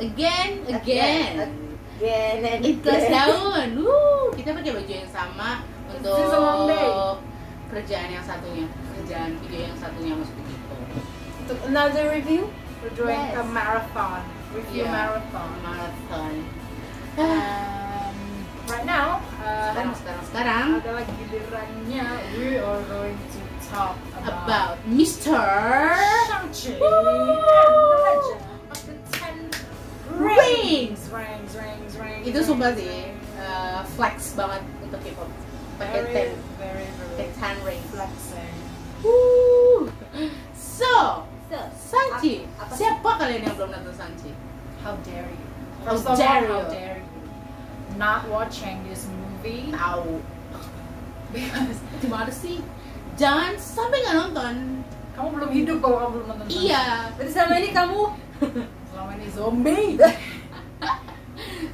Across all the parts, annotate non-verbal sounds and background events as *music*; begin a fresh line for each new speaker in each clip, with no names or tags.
again, again.
Again and
Ikhlas
again.
daun. Wuh, kita pakai baju yang sama untuk
It's just a long day.
kerjaan yang satunya, kerjaan video yang satunya maksud gitu.
Untuk another review, we're doing
Yes.
a marathon. Review
Yeah.
marathon.
Marathon.
Um, right now, uh,
Sekarang, sekarang, sekarang
adalah gilirannya we are going to talk about,
about Mr.
Shang-Chi and
Woo!
the Legend of the Ten Rings.
Rings.
Rings, rings, rings.
Itu sumpah
rings,
sih
rings.
uh, flex banget untuk K-pop. Pakai
Very,
ten,
very, very
ten rings.
flexing.
Wuh. So,
So,
Sanji,
Apa- apa sih?
siapa kalian yang belum nonton Sanji?
How dare you?
How
First of all,
dare
how
you.
dare you? Not watching this movie *laughs*
Tahu.
because
Gimana sih? Jangan sampai nggak nonton.
kamu belum hidup kalau kamu belum nonton.
Iya,
*laughs* berarti selama ini kamu
Selama ini zombie.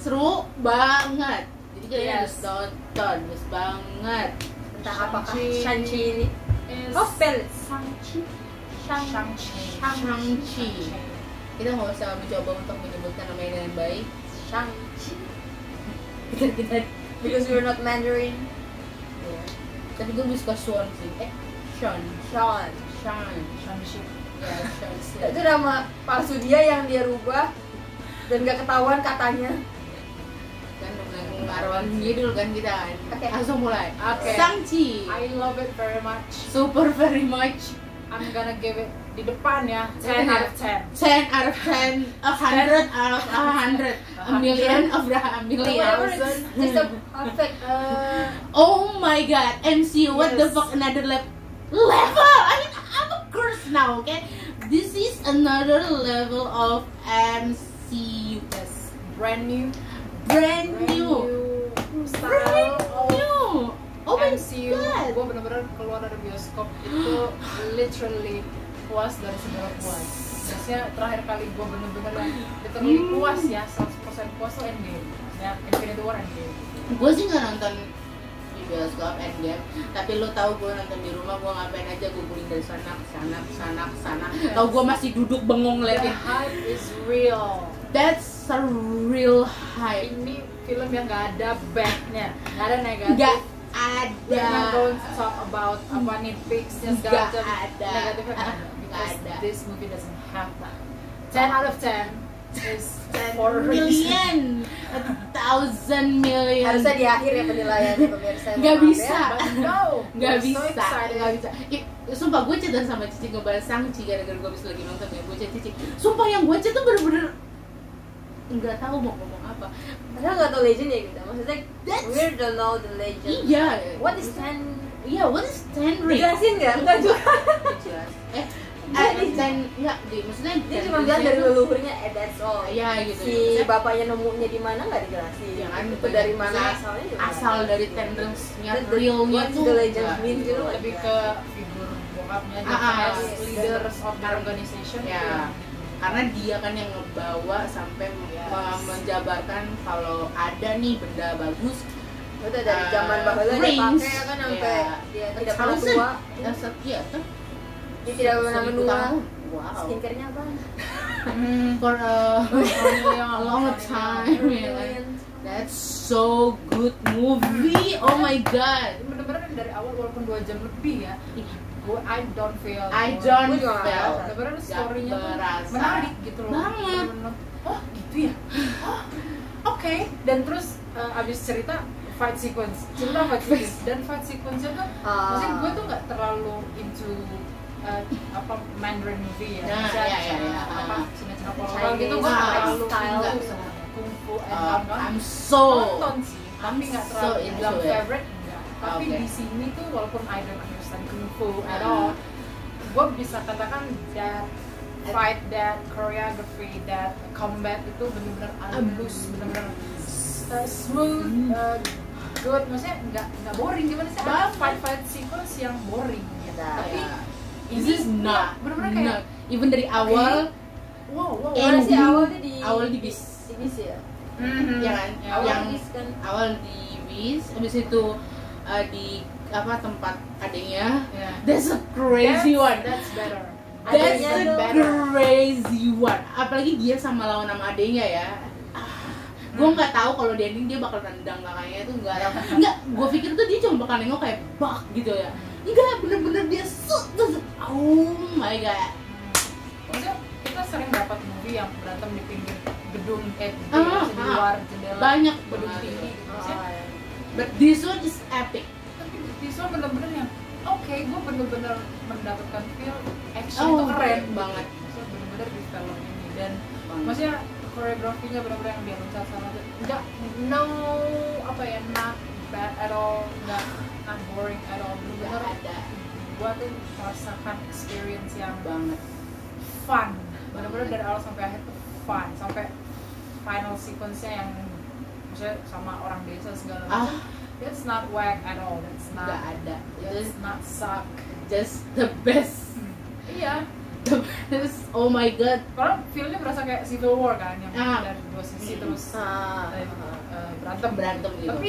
seru banget. Jadi kalian
Yes.
harus nonton, harus banget.
entah apakah
Shang-Chi.
Shang-Chi ini
Is
Oh, spell it.
Shang-Chi.
Shang-Chi.
Shang-Chi. Kita nggak usah mencoba untuk menyebutkan namanya dengan baik.
Shang-Chi.
Biar kita, ya.
Because you're not Mandarin.
Iya. Tapi gue lebih suka Sean sih. Eh, Sean,
Sean.
Sean,
Shang-Chi.
ya Sean sih.
*laughs* Itu nama palsu dia yang dia rubah dan gak ketahuan katanya.
Kan dengan pengaruhan judul kan kita kan.
Oke.
Langsung mulai.
Oke.
Sangchi,
I love it very much.
super very much.
I'm gonna give it di depan ya. 10
Iya.
out of 10.
10 out of 10, a hundred out of a hundred, a million of the a
Whatever
million.
it's just a perfect uh,
Oh my god, MCU, what the
Yes.
fuck another level? Level! I mean, I'm a curse now, okay? This is another level of MCU.
Yes. Brand new.
Brand, new.
Style
Brand
of
new! Oh my
MCU
god!
gue bener-bener keluar dari bioskop itu literally puas dari segala puas maksudnya terakhir kali gue bener-bener yang literally
Hmm.
puas ya 100% puas tuh Endgame maksudnya Infinity War Endgame
gue sih nggak nonton di bioskop Endgame tapi lo tau gue nonton di rumah gue ngapain aja gue guling dari sana ke sana ke sana ke sana tau gue masih duduk bengong
the
ngeliatin
hype is real
that's a real hype
ini film yang gak ada backnya gak ada negatif
nggak
We're
ada Hmm.
not going to talk about apa nitpicks-nya
Nggak
segala macam.
ada.
Negatifnya nggak ada.
Nggak
Because
ada.
this movie doesn't have that. 10 out of 10 is 10 for a reason.
million a thousand million
harusnya di akhir ya penilaiannya pemirsa.
Nggak
Maaf
bisa.
ya.
But no,
*laughs* nggak
we're so
bisa
excited.
nggak bisa Ih, sumpah gue chat sama Cici ngebahas Sangchi gara-gara gue habis lagi nonton ya gue chat Cici sumpah yang gue chat tuh bener-bener nggak tahu mau ngomong apa
Padahal gak tau legend ya kita. Maksudnya
That's-
we don't know the legend.
iya
What is ten?
Iya, what is ten ring?
Jelasin nggak? Enggak juga.
jelas. Eh,
Nggak,
eh,
dia-
ten enggak, di maksudnya
Dia
ten
cuma bilang dari
ringnya tuh-
leluhurnya, eh that's all.
Iya gitu.
si
Maksudnya,
bapaknya nemunya di mana nggak dijelasin
Iya kan,
itu dari mana
maksudnya
asalnya juga
asal
nggak
dari
dijelasin.
ten ringsnya
Terus the-
realnya
what's
tuh.
the legend
nggak.
mean gitu loh.
lebih ke figur bokapnya dia
Ah, ah.
as leaders of the organization
Ya, karena dia kan yang ngebawa sampai me-
Yes.
me- menjabarkan kalau ada nih benda bagus
itu Ya dari zaman
Uh,
bahula dia
rings.
pakai kan sampai
Iya. ya,
dia tidak pernah
Thousand.
tua
dan setia tuh
dia tidak pernah
seribu
menua
iya, tahun. Wow. Hmm,
skincarenya apa
For a, a long time, ya kan?
Brilliant.
That's so good movie. Oh my god.
bener-bener dari awal walaupun 2 jam lebih ya gue I don't feel
I
bored.
don't
Gua juga nggak
feel.
ngerasa.
bener-bener
Nggak
story-nya tuh
berasa.
menarik gitu loh
Banget.
Bener-bener, oh gitu ya oh, oke dan terus eh, abis cerita fight sequence cerita fight sequence dan fight sequence-nya tuh
Ah.
maksudnya gue tuh nggak terlalu into eh, apa Mandarin movie ya,
Nah,
Maksudnya
iya, iya, iya.
apa
Ah.
Cina Cina Korea gitu
Chinese
gue
Ah.
nggak terlalu
style.
nggak sama kungfu and
Uh,
kawan-kawan.
I'm so
nonton sih tapi nggak
so
terlalu
into
bilang
it.
favorite enggak. tapi
Okay. Hmm.
di sini tuh walaupun I don't understand kungfu at all gue bisa katakan that fight that choreography that combat itu benar-benar halus
Hmm.
benar-benar uh, smooth uh, good maksudnya nggak nggak boring gimana sih ada
Banget.
fight fight sequence yang boring gitu
Nah,
tapi
Yeah.
ini
This is not.
bener-bener kayak
not. even dari awal
wow wow
Eh,
Mana sih
Ending.
awalnya di
Awal di bis.
di bis ya
Mhm.
ya kan?
Ya,
awal
Yang-
di bis kan
awal di bis, habis itu uh, di apa tempat adiknya.
yeah.
That's a crazy
That's-
one.
that's better
That's
Adanya
the
tuh Oh, iya.
crazy one. Apalagi dia sama lawan sama adenya ya. gue nggak tahu kalau di ending dia bakal nendang kakaknya itu nggak tahu nggak gue pikir tuh dia cuma bakal nengok kayak bak gitu ya nggak bener-bener dia sut terus oh my god
Maksudnya kita sering dapat movie yang berantem di pinggir gedung eh di,
Ah,
di
ah.
luar jendela
banyak
gedung
banget Ah.
tinggi gitu. Maksudnya,
but this one is epic
tapi visual bener-bener yang oke gue bener-bener mendapatkan feel action
Oh,
itu keren
banget.
so, bener-bener di film ini dan maksudnya koreografinya bener-bener yang dia loncat sama dia. nggak no apa ya not bad at all nggak not boring at all
nggak
bener-bener
ada
gue tuh merasakan experience yang
banget
fun bener-bener dari awal sampai akhir tuh fun sampai final sequence-nya yang maksudnya sama orang desa segala
ah
macam that's not whack at all that's not
nggak ada
does
it's
not suck.
just the best
Iya,
the best oh my god
karena filmnya berasa kayak Civil War kan yang
Ah.
dari dua sisi terus
Ah.
eh, eh, berantem
Berantem gitu.
Tapi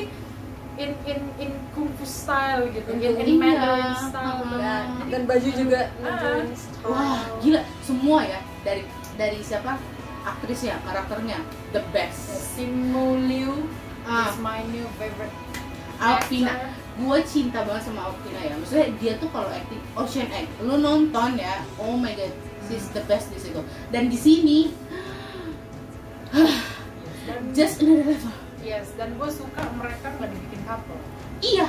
in in in kung fu style gitu, in, in
Iya.
Mandarin style.
Ah.
Dan, dan baju juga
Ah.
Wah, gila
gila.
semua ya dari dari siapa aktrisnya, karakternya the best.
Simu Liu
Ah,
is my new favorite.
Alvina,
actor.
gue cinta banget sama Alvina ya. Maksudnya dia tuh kalau acting Ocean Egg, lu nonton ya, oh my god, she's the best di situ. Dan di sini
Dan,
just another level.
yes, dan gue suka mereka nggak dibikin couple.
Iya,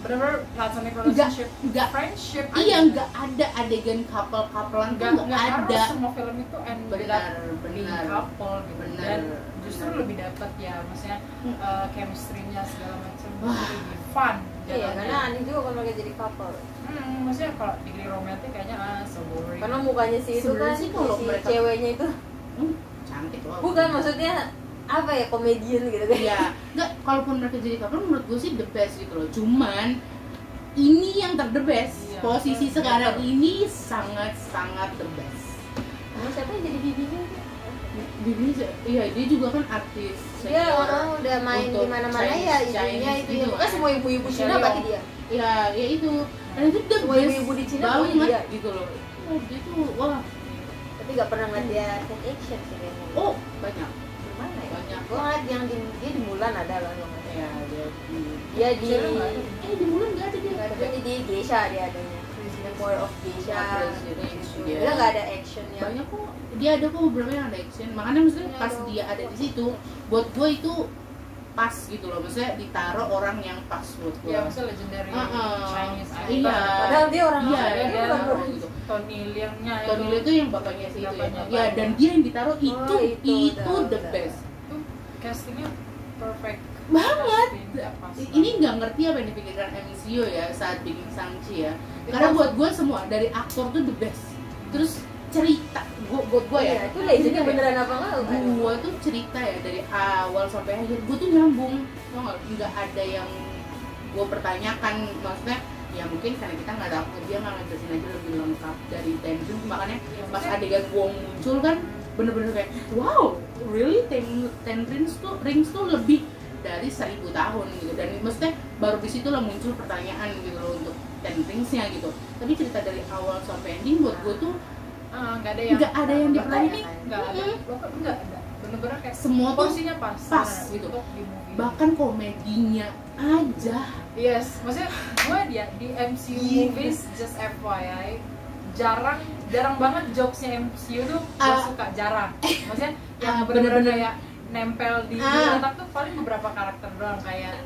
Bener-bener platonic
Nggak,
relationship,
nggak.
friendship.
iya
aja.
nggak ada adegan couple couplean
nggak
tuh nggak
nggak harus
ada.
semua film itu end with
Benar,
being
benar.
couple gitu
Benar,
dan justru
benar.
lebih dapat ya maksudnya
Hmm.
eh, chemistry-nya segala macam
Wah.
lebih fun
Iya,
jalannya.
karena aneh juga kalau mereka jadi couple.
hmm, maksudnya kalau degree romantis kayaknya ah so boring
Karena mukanya si itu
Sebenarnya
kan
sih
si
kalau mereka-
ceweknya itu
Hmm, cantik loh.
bukan maksudnya apa ya komedian gitu kan.
Iya, nggak. Kalaupun mereka jadi couple, menurut gue sih the best gitu loh. Cuman ini yang ter the best.
Iya.
Posisi
Hmm,
sekarang
bener.
ini sangat sangat the best.
Emang siapa yang jadi bibinya?
Bibi, iya dia juga kan artis.
Dia
senior.
orang udah main
Untuk
di mana-mana
Chinese-
ya ibunya
Chinese
itu
gitu
ya. Bukan
kan.
semua ibu-ibu Cina
Serial.
berarti dia.
Iya, ya itu. Dan itu the
Semua
best.
ibu-ibu di Cina
banget
pokoknya dia.
gitu loh. Oh, dia tuh wah,
Tapi gak pernah ngeliat dia set action sih kayaknya.
oh banyak.
gimana ya?
Banyak.
Gue ngeliat yang di dia di bulan ada loh yang
Ya dia.
Dia di
Cina nggak ada.
Eh di bulan nggak ada dia.
nggak ada, tapi di geisha dia adanya. The War of Geisha.
President
gitu.
dia.
Dia nggak ada actionnya.
Iya. banyak kok dia ada kok beberapa yang ada action makanya maksudnya pas dia ada di situ buat gue itu pas gitu loh maksudnya ditaruh orang yang pas buat gue
ya maksudnya legendary
Heeh.
Chinese actor
Iya.
Padahal dia orang
Iya,
lain,
Ada-
dia
bukan
ada
orang
orang-
gitu.
Tony Leung-nya
Tony Leo itu yang bapaknya sih itu ya.
Bapaknya,
ya
bapaknya.
dan dia yang ditaruh itu
Oh,
itu,
itu udah,
the
udah.
best
itu castingnya perfect
Banget.
Castingnya pas
ini
banget.
nggak ngerti apa yang dipikirkan MCU ya saat bikin Sangchi ya karena buat gue semua dari aktor tuh the best terus cerita gue buat gue ya
Iya, itu legendnya
Cerita ya.
beneran apa enggak? kan?
gua tuh cerita ya dari awal sampai akhir gua tuh nyambung tau nggak nggak ada yang gua pertanyakan maksudnya ya mungkin karena kita nggak tahu dia nggak ngejelasin aja lebih lengkap dari Tenjun makanya
Iya,
pas
maksudnya-
adegan gua muncul kan bener-bener kayak wow really ten, ten rings tuh rings tuh lebih dari seribu tahun gitu dan maksudnya baru di situ lah muncul pertanyaan gitu loh untuk ten ringsnya gitu tapi cerita dari awal sampai ending buat gua tuh
Ah, nggak ada yang
nggak ada yang dipertanyakan
Pertanyaan.
nggak ada
Mm-mm.
lo kan nggak ada bener-bener kayak
semua tuh
porsinya pas
pas,
nah,
gitu.
untuk di movie
bahkan komedinya aja
yes maksudnya gue dia di MCU
Iya.
movies just FYI jarang jarang banget jokesnya MCU tuh gue
Ah.
suka jarang maksudnya yang
Ah,
bener-bener
bener-bener.
kayak nempel di
Ah.
otak tuh paling beberapa karakter doang kayak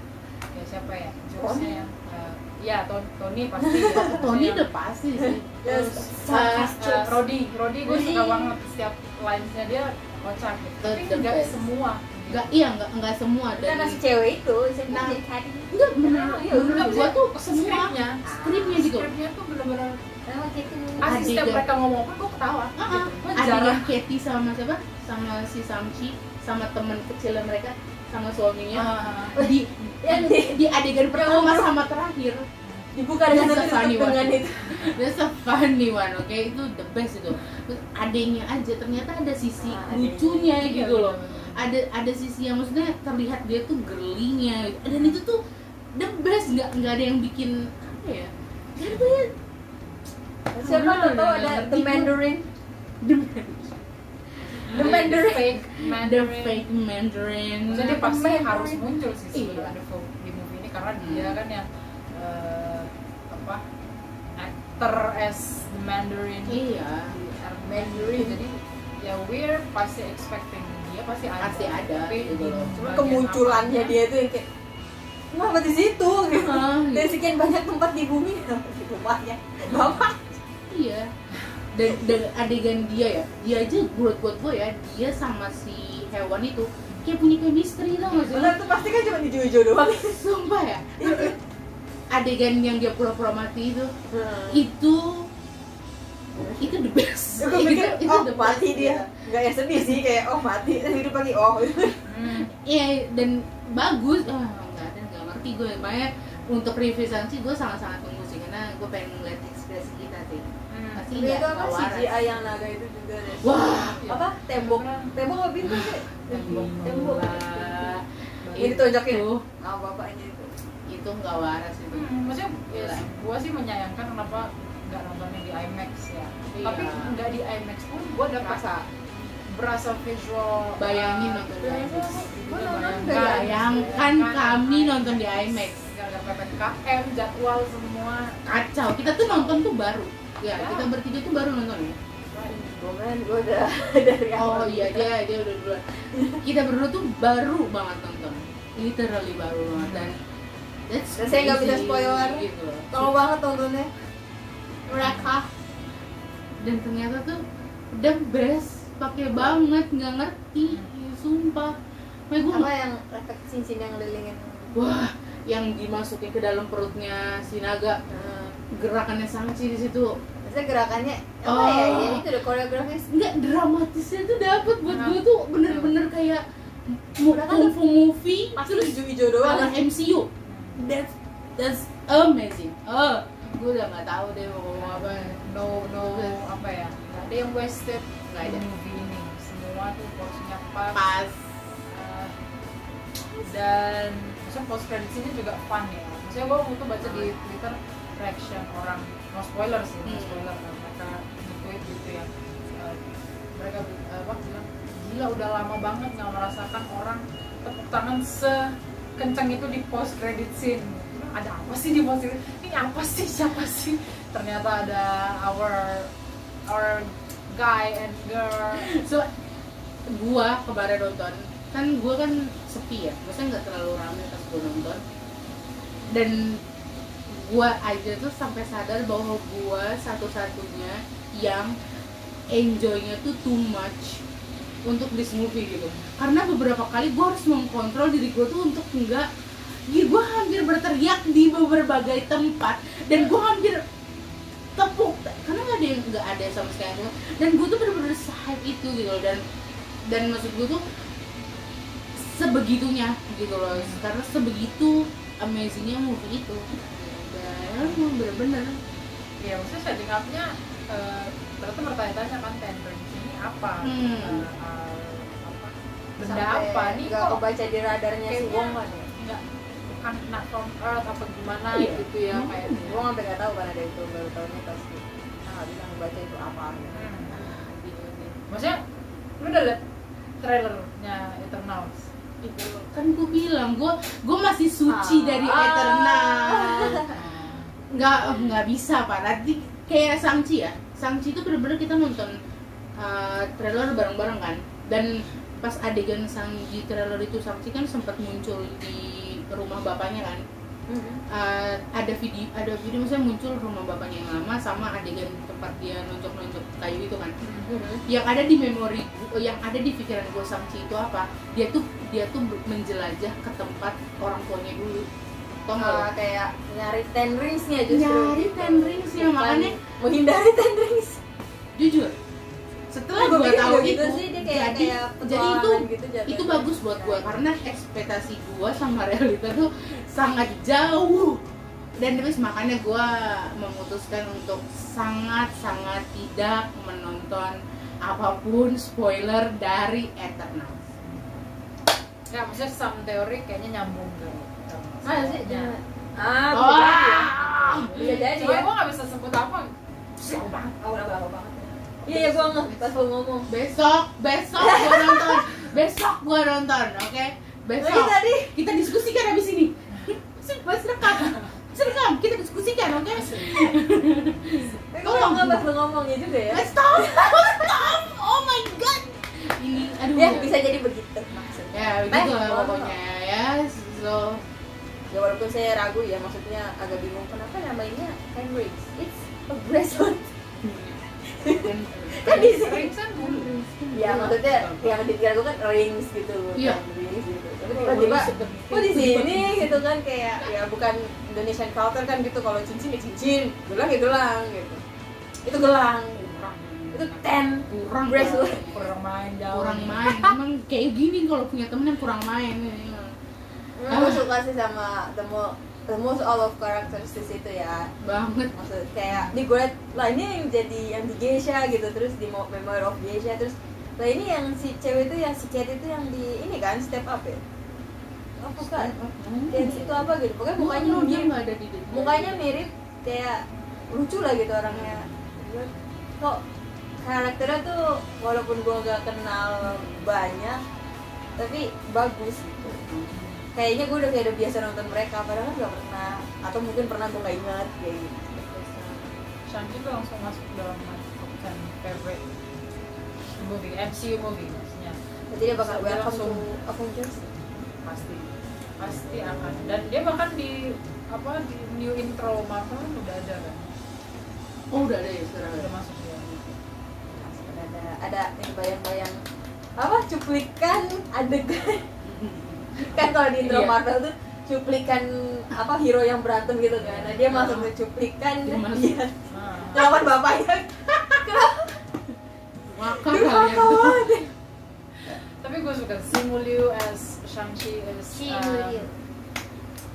ya siapa ya jokesnya yang eh, ya Ton- Tony pasti ya.
*laughs* Tony
Maksudnya
udah pasti sih
Terus,
Ah,
Eh, Rodi, Rodi gue
Rodi.
suka banget setiap lines-nya dia kocak gitu. Tapi
The- the
nggak
best.
semua.
nggak iya nggak nggak semua
karena
dari
si cewek itu, si
Nah.
si tadi.
nggak bener
Kenapa? Ya,
Iya,
bener
udah,
gua tuh semua
Skripnya,
skripnya gitu
skripnya tuh bener-bener
Sama gitu.
asli setiap
Adegan.
mereka ngomong pun gue
Ah,
ketawa.
ah.
Gitu. Gue jarang.
adegan Katie sama siapa sama si Samchi sama teman kecil mereka sama suaminya
Ah.
di
Yang di-
di adegan pertama sama terakhir
Dibuka dengan
That's a
itu
funny
tutup
one.
dengan itu.
That's a funny one, oke itu the best itu. Terus adanya aja ternyata ada sisi
Ah, adanya.
lucunya
Iya,
gitu loh.
bener-bener.
Ada ada sisi yang maksudnya terlihat dia tuh girlinya gitu. dan itu tuh the best nggak nggak ada yang bikin apa ya? Nggak ada yang-
siapa
Nah,
tuh tahu
nah,
ada
ngerti
The
gua.
Mandarin
The,
The Mandarin
fake
the
Mandarin.
fake Mandarin.
Jadi
The
pasti
Mandarin.
harus muncul sih sebelum
Iya.
ada Vogue di movie ini karena dia kan yang eh, apa actor as the Mandarin.
Iya.
Mandarin jadi ya we're pasti expecting dia pasti ada
Pasti ada,
tapi
gitu loh.
cuma
Cuma kemunculannya dia itu yang kayak kenapa di situ gitu
Ah,
dari sekian banyak tempat di bumi *laughs* kenapa di rumahnya bapak
Iya. Dan, dan adegan dia ya, dia aja buat buat gue ya, dia sama si hewan itu kayak punya chemistry tau gak sih?
benar tuh pasti kan cuma di Jojo doang
Sumpah ya. Adegan yang dia pura-pura mati itu, itu itu the best.
Gue mikir, oh
the best. Iya.
mati dia Gak ya sedih sih, kayak oh mati, hidup lagi, oh
Hmm.
Iya dan bagus. Ah nggak ada nggak ngerti gue. Makanya untuk revisan sih gue sangat-sangat tunggu sih karena gue pengen ngeliat ekspresi kita sih.
Hmm.
Pasti
Tapi
nggak
itu apa
waras.
CGI yang naga itu juga deh
Wah.
Apa? Tembok Tembok apa pintu sih?
Tembok.
Tembok
Wah,
Ini ditonjokin
Itu,
Sama bapaknya itu
itu nggak waras itu.
Hmm, maksudnya ya,
Gila.
gue sih menyayangkan kenapa nggak nontonnya di IMAX ya.
Iya.
Tapi nggak di IMAX pun gue udah
Berasa.
berasa berasa visual.
Bayangin nonton di IMAX.
Gue nonton
Bayangkan.
dari
Bayangkan kami nonton di IMAX.
Gak ada PPKM, jadwal semua.
Kacau. Kita tuh nonton tuh baru. Ya,
Ya.
kita bertiga tuh baru nonton ya.
Gue kan, gue udah dari
Oh
awal
iya dia dia udah duluan. Kita berdua tuh baru banget nonton. Literally baru banget dan that's
Dan saya nggak bisa
crazy,
spoiler.
gitu loh.
Tolong banget tontonnya Mereka
dan ternyata tuh the best pakai banget nggak ngerti Iya, sumpah Makanya gue
Apa yang efek cincin yang lilingin
wah yang dimasukin ke dalam perutnya si naga eh,
Nah,
gerakannya sangci di situ
Maksudnya gerakannya apa ya?
Oh.
Ya itu udah koreografi
nggak dramatisnya tuh dapet buat
Nah.
gue tuh bener-bener kayak mu-
Padahal
kung fu movie terus
hijau-hijau
ala MCU that's that's amazing oh gue udah nggak tahu deh mau ngomong apa
No, no, apa ya? Gak ada yang wasted
Nggak ada.
di movie ini. Semua tuh porsinya pas.
pas
Uh, dan maksudnya post credits ini juga fun ya maksudnya gue waktu itu baca di twitter reaction orang no spoiler sih no
Hmm.
spoiler kan mereka tweet gitu ya uh, mereka uh, apa bilang gila udah lama banget nggak merasakan orang tepuk tangan sekencang itu di post credit scene ada apa sih di post credit ini apa sih siapa sih ternyata ada our our guy and girl
*laughs* so gua kemarin nonton kan gua kan sepi ya maksudnya nggak terlalu rame pas gua nonton dan gua aja tuh sampai sadar bahwa gua satu-satunya yang enjoynya tuh too much untuk this movie gitu karena beberapa kali gua harus mengkontrol diri gua tuh untuk enggak ya gua hampir berteriak di berbagai tempat dan gua hampir tepuk karena nggak ada yang nggak ada sama sekali dan gue tuh bener-bener hype itu gitu loh dan dan maksud gue tuh sebegitunya gitu loh karena sebegitu amazingnya movie itu dan emang bener-bener ah,
ya maksudnya setting up-nya eh, ternyata bertanya-tanya kan tendering ini apa
Hmm.
Eh, eh, apa benda
Sampai
apa nih
nggak
kok
kebaca di radarnya si
Kayaknya-
Wong kan ya?
nggak bukan not from earth apa gimana
Iya.
gitu ya
Hmm.
kayak
Wong sampai nggak tahu kan ada itu baru tahunnya pasti. Nah nggak bisa ngebaca itu apa.
Hmm.
ah, gitu sih.
maksudnya lu udah liat trailernya Eternals
Gitu loh. kan gue bilang gue gue masih suci
Ah.
dari eternal *laughs*
Ah.
nggak oh, nggak bisa pak nanti kayak sangci ya sangci itu bener-bener kita nonton uh, trailer bareng-bareng kan dan pas adegan sangji trailer itu sangci kan sempat muncul di rumah bapaknya kan Uh, ada video ada video misalnya muncul rumah bapaknya yang lama sama adegan tempat dia nonjok-nonjok kayu itu kan
Hmm.
yang ada di memori gu- yang ada di pikiran gue Samci itu apa dia tuh dia tuh ber- menjelajah ke tempat orang tuanya dulu tau nggak lo?
Ah, kayak nyari ten rings-nya justru.
Mm-hmm. nyari
gitu.
ten rings ya
Bukan
makanya
menghindari ten rings.
jujur setelah
Gua
gue
pikir
tahu
juga
itu
gitu sih, dia kayak
jadi
kayak
jadi itu
petualangan gitu jatuhnya.
itu bagus buat gue karena ekspektasi gue sama realita tuh sangat jauh dan terus makanya gue memutuskan untuk sangat sangat tidak menonton apapun spoiler dari Eternals
ya maksudnya some teori kayaknya nyambung ke Eternals
Masa sih?
Ya. Hmm.
Ah,
Iya. Wah!
bisa jadi ya. Bisa jadi
Cuma
ya.
gue nggak bisa sebut apa jauh banget
aura bawa banget iya ya gue ngeh pas lo ngomong
besok besok gua nonton besok gua nonton oke
lagi
besok
Iya, tadi
kita diskusikan habis ini Sini, mas rekam Mas rekam kita diskusikan oke
gue ngeh pas lo ngomong ya juga ya
Mas stop Mas stop oh my god ini aduh
ya bisa jadi begitu maksudnya
ya begitu lah pokoknya ya so
ya walaupun saya ragu ya maksudnya agak bingung kenapa namanya Cambridge it's a *laughs* bracelet kan di sini
Ring kan bulu
ya maksudnya yang dipikir gue kan rings gitu
Iya.
rings gitu tapi
Oh,
tiba-tiba kok di sini gitu kan kayak ya bukan Indonesian culture kan gitu kalau cincin ya cincin gelang ya gelang gitu itu gelang itu ten
kurang
Bracelet.
kurang main jauh
kurang main emang kayak gini kalau punya temen yang kurang main ya.
aku suka sih sama the mo- the most all of characters di situ ya
banget
maksud kayak di gue lah ini yang jadi yang di Geisha gitu terus di Mo- Memoir of Geisha terus lah ini yang si cewek itu yang si Cat itu yang di ini kan step up ya apa kan dance itu apa gitu pokoknya mukanya
mukanya dia
mirip
nggak ada di dia.
mukanya mirip kayak lucu lah gitu orangnya Gue- kok karakternya tuh walaupun gue gak kenal banyak tapi bagus gitu kayaknya gue udah kayak udah biasa nonton mereka padahal kan gak pernah atau mungkin pernah gue gak ingat kayak gitu
Shanti tuh langsung masuk dalam my top 10 favorite movie MCU movie maksudnya
Berarti dia bakal
Dia
welcome to
langsung-
Avengers
pasti pasti akan dan dia bahkan di apa di new intro Marvel kan udah ada kan
oh udah ada ya sekarang
udah masuk ya
ada ada yang bayang-bayang apa cuplikan adegan *laughs* kan kalau di intro
Iya.
Marvel tuh cuplikan apa hero yang berantem gitu kan nah, dia masuk ke cuplikan
Dia masuk.
dia
nah,
lawan *laughs* bapaknya
Maka
Duh,
kalian
apa
tuh
*laughs* banget.
tapi gue suka Simu Liu as Shang-Chi is
Iya,
um,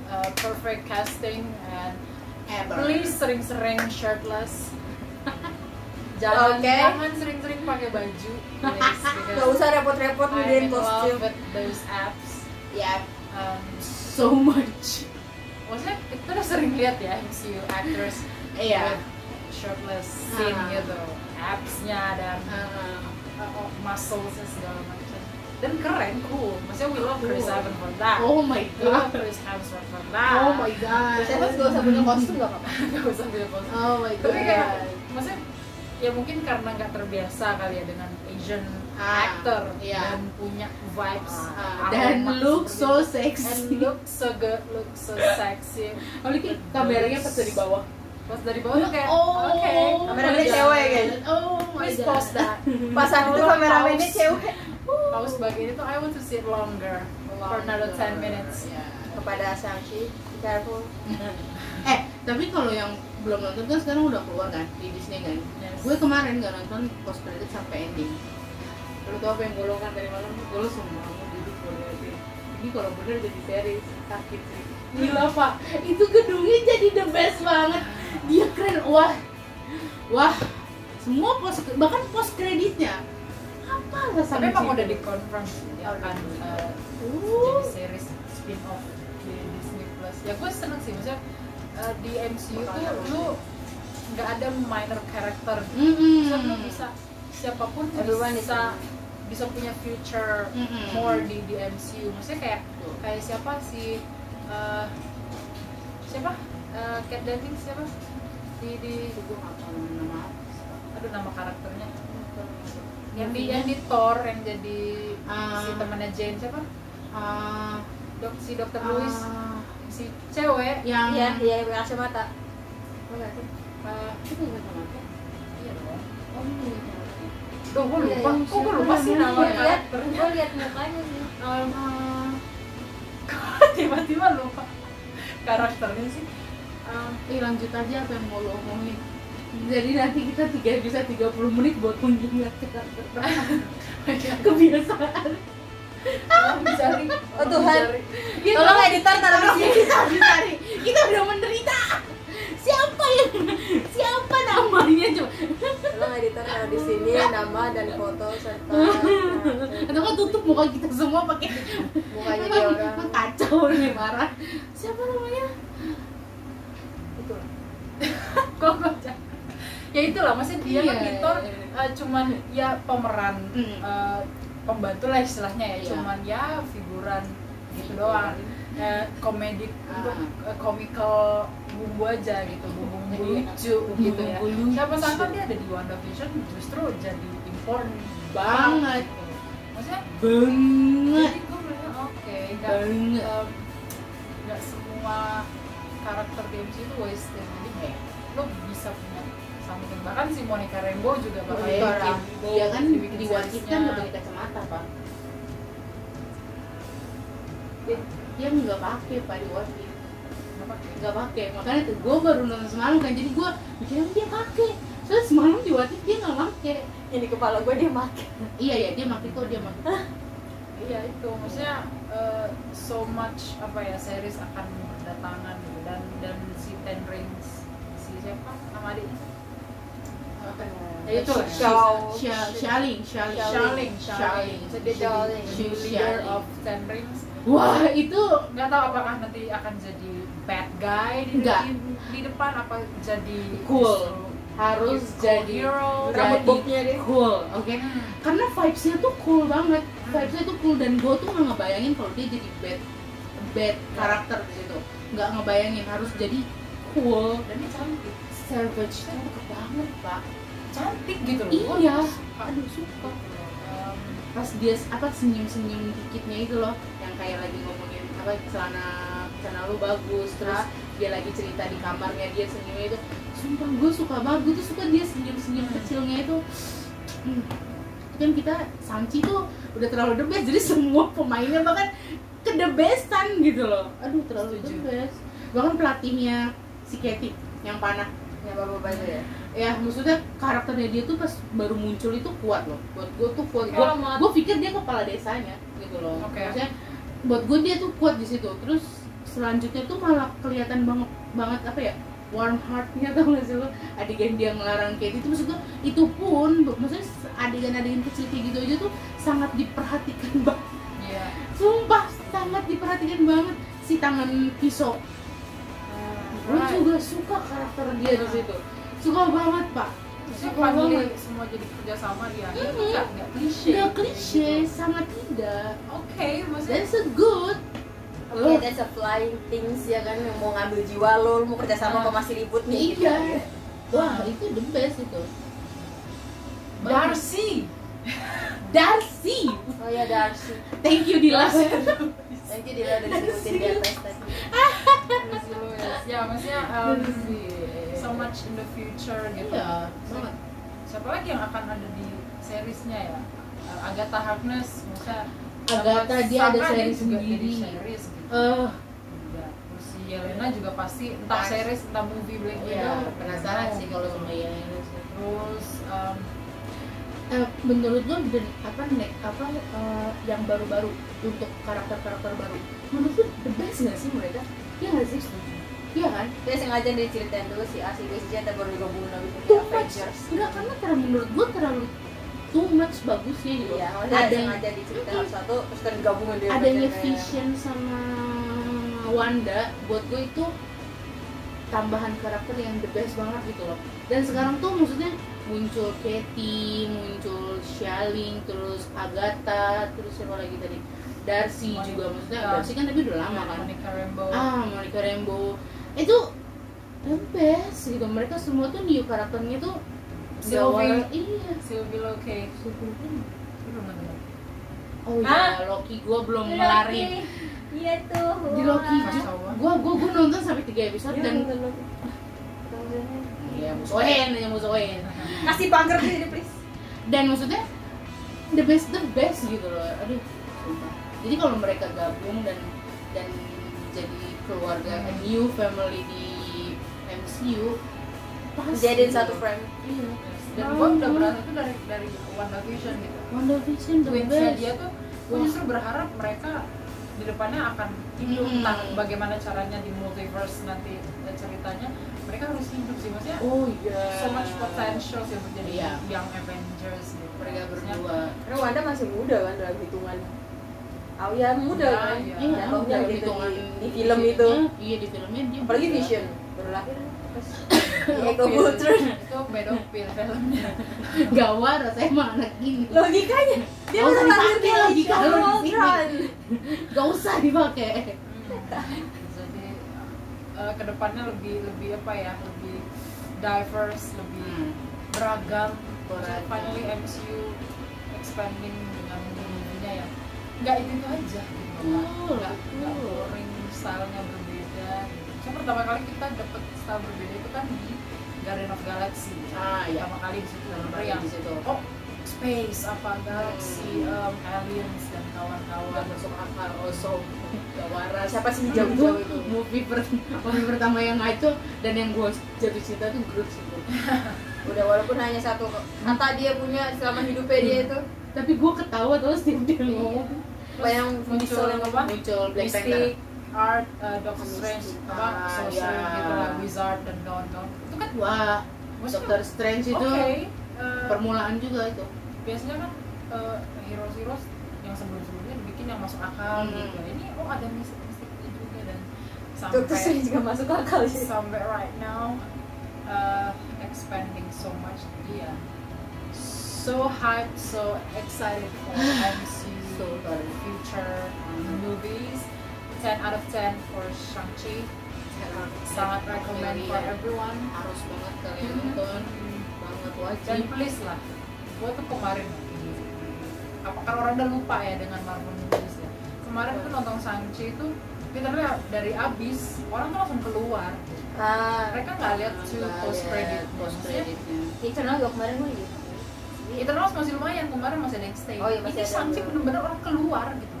uh, perfect casting and
ever.
please sering-sering shirtless *laughs* jangan
Oke.
jangan sering-sering pakai baju
*laughs*
please because
Gak usah repot-repot
I'm
ngedein
in love
kostum
with those apps
ya
um,
so much
maksudnya kita udah sering lihat ya MCU actors
iya
with shirtless scene
Ah.
gitu abs-nya dan
Uh,
uh, muscles-nya segala macam dan keren cool maksudnya we love Chris
Cool.
Evans for that
oh my
we love
god
Chris Hemsworth for that
oh my god Hmm.
Terus gak usah punya kostum gak *laughs* apa-apa
*laughs* gak usah bilang kosong.
oh my god
tapi kayak maksudnya ya mungkin karena nggak terbiasa kali ya dengan Asian
Ah,
actor
iya.
dan punya vibes
Ah,
aroma
dan look so
seperti- and
sexy
look so good look so sexy
apalagi kameranya pas dari bawah
pas dari bawah tuh kayak
Oh.
oke
kameranya
my God.
cewek kan?
oh my
please
god
pause
*laughs*
*laughs* that
pasan itu kameramennya
Paus.
cewek
pause bagian itu I want to see it longer for another 10 minutes
Iya.
kepada Shang-Chi be careful
*laughs* eh tapi kalau yang belum nonton kan sekarang udah keluar kan di Disney kan
Yes.
gue kemarin nggak nonton post credit sampai ending lu tau apa yang gue lakukan tadi malam gue langsung bangun duduk gue liatin ini kalau bener jadi series sakit sih *laughs* gila pak itu gedungnya jadi the best banget dia keren wah wah semua post bahkan post kreditnya apa rasa
tapi emang udah dikonfirm dia akan uh, jadi series spin off di Disney Plus ya gue seneng sih maksudnya uh, di MCU tuh lu nggak ada minor karakter
mm -mm.
Maksudnya lu bisa siapapun tuh
Everyone is
bisa bisa punya future
Mm-mm.
more di di MCU maksudnya kayak kayak siapa si uh, siapa uh, Cat Dennings siapa di di
gue nggak tahu nama apa.
aduh nama karakternya yang di yang di Thor yang jadi
Ah.
si temannya Jane siapa
Ah,
dok si dokter
ah,
Lewis si cewek
yang
iya iya yang pakai kacamata Lo nggak sih?
uh,
eh, Itu ingat sama apa?
iya dong
Oh, ini ingat sama apa?
Duh, gue
Iya,
lupa.
yang
Kok gue lupa
siapa
sih nama
namanya?
Gue liat,
karakternya? *laughs*
gue liat mukanya sih
Um, Tiba-tiba lupa karakternya sih.
Ah.
Um,
Eh lanjut aja apa yang mau lo omongin Jadi nanti kita tiga bisa 30 menit buat mengingat kita
Iya,
kebiasaan
tolong dicari.
Oh, Tuhan.
dicari.
Gitu.
Tolong editor taruh di
Tolong
sini.
kita dicari Kita udah menderita Siapa yang Siapa namanya coba
Tolong editor taruh di sini nama dan foto *laughs* serta
Atau kan tutup muka kita semua pakai
mukanya dia orang.
Emang *laughs* Kacau nih marah Siapa namanya
Itu.
Kok gue cari? Ya ya itulah maksudnya
Iya,
dia kan aktor
iya, iya.
eh, cuman ya pemeran
Mm.
eh, pembantu lah istilahnya ya
Iya.
cuman ya figuran gitu doang Eh, komedik
Ah.
untuk eh, komikal bumbu aja gitu bumbu
Jadi,
lucu gitu ya
bumbu lucu.
siapa sangka dia ada di WandaVision justru jadi important
Banget.
gitu. maksudnya
banget
jadi gue bilang oke nggak
banget
em, nggak semua karakter di MC itu wasted jadi kayak lo bisa punya something bahkan si Monica Rambeau juga bakal
Monica
bikin
Rambeau. Iya
dia Iya kan
dibikin
diwajibkan
seriesnya.
nggak pakai kacamata pak Dia- dia nggak pakai pak di wajib
Kenapa?
nggak pakai makanya tuh gue baru nonton semalam kan jadi gue mikirnya dia pakai terus semalam di wajib dia nggak pakai
yang di kepala gue dia make
iya ya dia pakai kok dia pakai
iya itu maksudnya eh, so much apa ya series akan berdatangan gitu. dan dan si Ten Rings si siapa nama adiknya
Nah,
Ya, itu lah.
Shaw-
Sha- Shaling Shaling
Shaling Shaling
Shaling.
so, dia jadi
Shaling.
jadi leader
Shaling.
of Ten Rings
wah itu
nggak tahu apakah nanti akan jadi bad guy di,
Nggak.
di, di depan apa jadi
Cool.
justru
harus
cool
jadi
hero
Rambut
rambut bobnya dia
cool oke
Hmm.
karena vibesnya tuh cool banget vibesnya tuh cool dan gue tuh nggak ngebayangin kalau dia jadi bad bad karakter di situ nggak ngebayangin harus jadi cool
dan dia cantik
savage tuh cakep banget pak
cantik gitu loh Um, Gua
iya
suka.
aduh suka
Em,
pas dia s- apa senyum senyum dikitnya itu loh yang kayak lagi ngomongin apa celana celana lu bagus terus dia lagi cerita di kamarnya dia senyumnya itu sumpah gue suka banget gue tuh suka dia senyum senyum
Hmm.
kecilnya itu Hmm. kan kita Sanchi tuh udah terlalu the best jadi semua pemainnya bahkan ke the bestan gitu loh aduh terlalu
Setuju.
the best bahkan pelatihnya si Katie yang panah
ya bapak-bapak itu ya
ya maksudnya karakternya dia tuh pas baru muncul itu kuat loh buat gue tuh kuat gue
Kalau mau-
pikir dia kepala desanya gitu loh
Oke.
maksudnya buat gue dia tuh kuat di situ terus selanjutnya tuh malah kelihatan banget banget apa ya warm heartnya *laughs* tau gak sih lo adegan dia ngelarang Katie itu maksud gue itu pun maksudnya adegan-adegan kecil kayak gitu aja tuh sangat diperhatikan *laughs* banget
iya
sumpah sangat diperhatikan banget si tangan pisau gue
Right.
juga suka karakter dia di situ suka banget pak
Maksudnya
suka
finally
banget
semua jadi kerjasama di akhir
Mhm.
nggak nggak klise
Gak klise,
Gitu.
sangat tidak.
oke maksudnya
That's a good.
Oke, that's a flying things ya kan yang mau ngambil jiwa lo, lo mau kerjasama sama masih ribut nih. gitu.
Iya. Wah, itu the best itu.
Darcy
Darcy.
Oh ya Darcy,
Thank you Dilas.
nanti dia udah disebutin di atas *laughs* tadi.
Darcy Lewis. *laughs* ya maksudnya em, so much in the future gitu
Iya, banget.
siapa lagi yang akan ada di seriesnya ya Eh, Agatha Harkness misalnya
Agatha, dia ada series
juga jadi
sendiri.
series gitu
Eh,
juga. Terus si Yelena juga pasti entah
Pasti.
series entah movie Black
ya
Widow
penasaran sih kalau sama yang ini sih.
terus um, em,
Eh, menurut lo dan apa nek apa eh, yang baru-baru untuk karakter-karakter baru menurut lo the best nggak sih mereka? Iya nggak sih? Iya kan?
Dia sengaja diceritain dulu si A, si B, si C, ntar baru digabungin lagi ke
Too much.
Avengers.
Enggak karena ter- menurut gue terlalu too much bagusnya gitu.
Iya, maksudnya
ada yang
sengaja diceritain satu-satu, terus ntar digabungin dia.
adanya Vision sama Wanda buat gue itu tambahan karakter yang the best banget gitu loh dan sekarang tuh maksudnya muncul Katie, muncul Shaling, terus Agatha, terus siapa lagi tadi Darcy
Monica.
juga maksudnya Darcy kan tapi udah lama kan
Monica Rambeau
ah Monica Rambeau itu the best gitu mereka semua tuh new karakternya tuh gak
Sylvie.
war- iya
Sylvie Locke Lu belum nonton?
oh
Hah?
iya Loki gue belum ngelarin
Iya tuh.
di Loki
wah.
Kacau banget.
gue gue gue nonton sampai tiga episode
Iya,
dan
nonton Loki. Nonton.
ya musuhin aja musuhin
Kasih pangker di please.
dan maksudnya the best the best gitu loh aduh sumpah jadi kalau mereka gabung dan dan jadi
Hmm.
keluarga a new family di MCU pasti
Jadiin satu frame.
iya
dan gua udah berasa tuh dari dari WandaVision gitu
WandaVision the
twinsnya
best
dia tuh gue
Wah.
justru berharap mereka di depannya akan hidup
Hmm.
tentang bagaimana caranya di multiverse nanti eh, ceritanya mereka harus hidup sih maksudnya eh,
oh iya
so much potential sih untuk jadi
Iya.
yang Avengers gitu
mereka
Maksudnya,
berdua
Karena Wanda masih muda kan dalam hitungan. Oh ya muda
Iya,
kan.
iya.
Iya,
Jatuhnya
dalam
gitu
hitungan
di- di film itu.
iya di filmnya dia
Apalagi
berdua. *laughs*
Vision. berlahir pas Ego Butron
itu pedofil *laughs* filmnya
Gawar rasanya gitu. mah anak ini.
logikanya dia
Gak usah
udah lahir
dipakai
di
logika lu
Ego
di sini.
Butron
Gak usah dipakai.
jadi eh, kedepannya lebih lebih apa ya lebih diverse lebih
Hmm.
beragam
Beragam.
So, finally MCU expanding dengan movie-nya ya nggak itu itu aja gitu nggak
Betul,
nggak nggak
betul.
boring stylenya berbeda gitu. so pertama kali kita dapet style berbeda itu kan di Garden of Galaxy
Ah, iya.
pertama kali di situ
Pertama
yang
kali di situ.
oh space apa galaxy
Hmm. Iya.
em, aliens dan
Gak
kawan-kawan Iya.
masuk akal, osok, gak waras.
siapa sih
Itu
hijau-hijau itu
movie, per- movie pertama yang ngaco dan yang gue jatuh cinta tuh Groot sih Bro.
udah walaupun hanya satu kok. kata dia punya selama hidupnya dia itu
tapi gua ketawa terus setiap dia ngomong
bayang
muncul
visual yang
apa?
Iya. muncul Black Panther
Mystic, Art, uh, Doctor Strange, apa,
Ah,
Sorcerer
iya.
gitu lah, Wizard dan Don Don. Itu kan
wah
maksudnya,
Doctor Strange itu
Oke, eh,
permulaan juga itu
biasanya kan eh, heroes-heroes yang sebelum-sebelumnya dibikin yang masuk akal
Hmm.
gitu. Ini oh ada mistik-mistik juga dan
Dokter
sampai
Strange juga masuk akal sih
sampai right now uh, expanding so much dia. So hyped, so excited for MCU
So hyped.
future movies. 10 out of 10 for Shang-Chi. sangat recommend for everyone
harus banget kalian
Mhm.
nonton Hmm. banget
dan
wajib
please lah gue tuh kemarin apakah orang udah lupa ya dengan Marvel movies ya kemarin tuh nonton Shang-Chi itu literally dari abis orang tuh langsung keluar
ah
mereka nggak lihat tuh
Kalian
post credit
post creditnya
Eternal juga kemarin gue gitu
Eternals masih lumayan kemarin masih ada yang stay
Oh iya, masih
ini
ada
Shang-Chi
yang-
bener-bener orang keluar gitu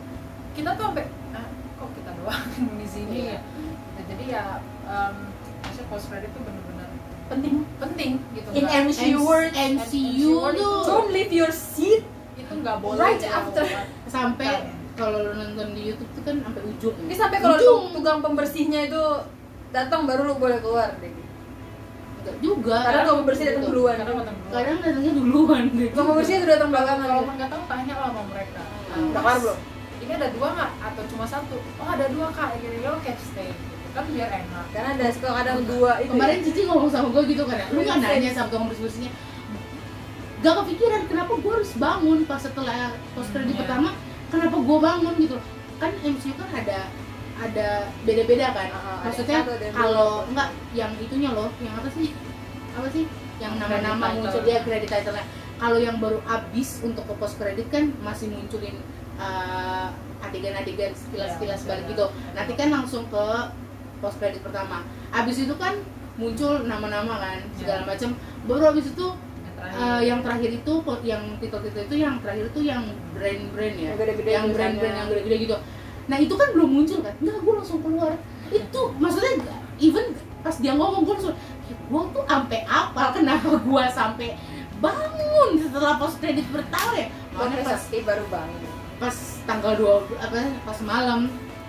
kita tuh sampai "Ah, kok kita doang di sini
Iya.
ya Nah, jadi ya em, maksudnya post credit tuh bener-bener penting penting gitu
in
nggak-
MCU
M-
world
MCU tuh
don't leave your seat
itu nggak boleh
Right
ya,
after.
buat-
sampai kalau lu nonton di YouTube tuh kan sampai ujung
ini sampai kalau tu- tukang pembersihnya itu datang baru lu boleh keluar deh
Enggak juga
karena tukang pembersih datang
Betul.
duluan
karena potong dulu.
kadang datangnya duluan gitu
tukang pembersih itu datang belakangan
kalau nggak tahu tanya lah sama mereka
Hmm.
udah kelar belum
ini ada dua nggak atau cuma satu oh ada dua kak jadi lo oke stay gitu kan biar enak
karena ada suka kadang dua itu ya.
kemarin Cici ngomong sama gue gitu kan ya, lu nggak
Iya,
nanya sama tukang bersih bersihnya gak kepikiran kenapa gue harus bangun pas setelah post credit
Hmm, iya.
pertama kenapa gue bangun gitu loh. kan MCU kan ada ada beda-beda kan
Aha, ada
maksudnya
yang satu, ada yang
kalau
dua.
enggak yang itunya loh yang apa sih apa sih yang
Credit
nama-nama
title.
muncul dia credit title kalau yang baru abis untuk ke post credit kan masih munculin eh, adegan-adegan sekilas-sekilas
Iya,
balik
iya.
gitu nanti kan langsung ke post credit pertama abis itu kan muncul nama-nama kan
Ya.
segala
Iya.
macam baru abis itu
yang
eh, yang terakhir itu po- yang titel-titel itu yang terakhir itu yang brand-brand ya
Yang gede-gede
yang brand-brand
tulisannya.
yang gede-gede gitu nah itu kan belum muncul kan enggak gue langsung keluar itu maksudnya even pas dia ngomong gue langsung gue tuh sampai apa kenapa gue sampai bangun setelah post credit pertama ya
Bang
Makanya pas
Sakti baru bangun
pas tanggal 2 apa pas malam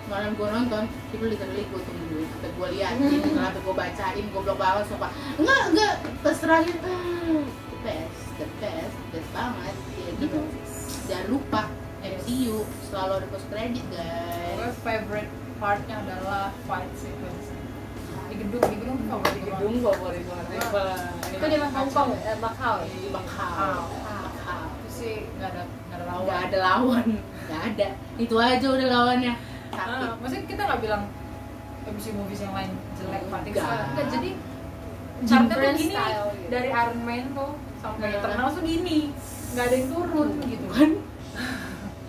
malam gue nonton itu literally gue tungguin sampai gue liatin sampai gue kan, bacain goblok banget sumpah enggak enggak pas terakhir "Hmm, the best the best the best banget ya gitu jangan lupa MCU selalu ada post credit
gue
guys
favorite partnya adalah fight sequence di gedung di gedung favorit gue.
favorit banget
itu di Hong Kong eh, Macau ya?
di Macau Macau
itu sih nggak ada nggak ada lawan
nggak ada lawan nggak ada itu aja udah lawannya sakit
Ah, maksudnya kita nggak bilang MC movies yang lain jelek fighting
Nggak.
style nggak jadi chartnya tuh
Different
gini
style gitu.
dari Iron Man tuh sampai
Nah.
Eternal tuh gini nggak ada yang turun gitu
kan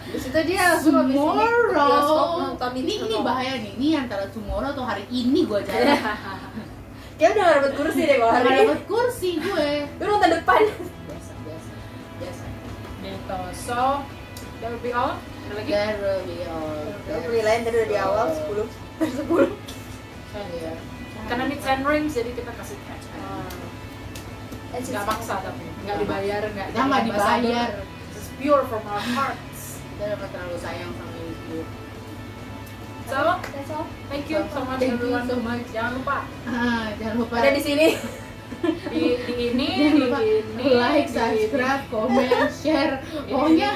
di situ dia langsung habis ini Iya, ke bioskop
Iya, tomorrow Iya.
nonton
ini ini
nonton.
bahaya nih ini antara tomorrow atau hari ini gue jalan
kayak udah gak dapet kursi deh kalau hari
nggak
ini
dapet kursi gue
lu nonton depan
biasa biasa biasa
gitu so that will be all ada lagi
Gara be all
Lu penilaian tadi udah di awal 10 per 10
Iya.
karena ini 10 rings jadi kita kasih cash
Ah,
Eh, sih,
nggak maksa tapi nggak dibayar nggak
Kita nggak
jadi
dibayar.
ambassador. It's pure from our hearts
kita dapat terlalu sayang sama itu
so
That's all.
thank you so much
Thank you
everyone
so much.
jangan lupa
ah jangan lupa
ada di sini
di, di ini
Jangan
di
lupa
ini
like,
di-
subscribe, komen, share. Pokoknya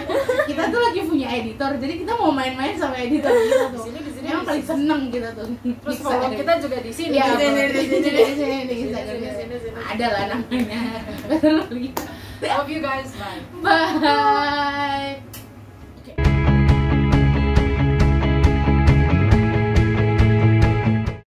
kita tuh lagi punya editor, jadi kita mau main-main sama editor kita
di
tuh.
sini di sini
Emang
di
paling
sini.
seneng kita tuh.
terus
Bisa
follow
ada-
kita juga di sini
Iya,
di sini,
di
di
sini,
sini.
di sini, di
Sini,
Instagram.
sini, sini, sini.
Ada lah namanya. *laughs* Betul.
love you guys bye
Bye.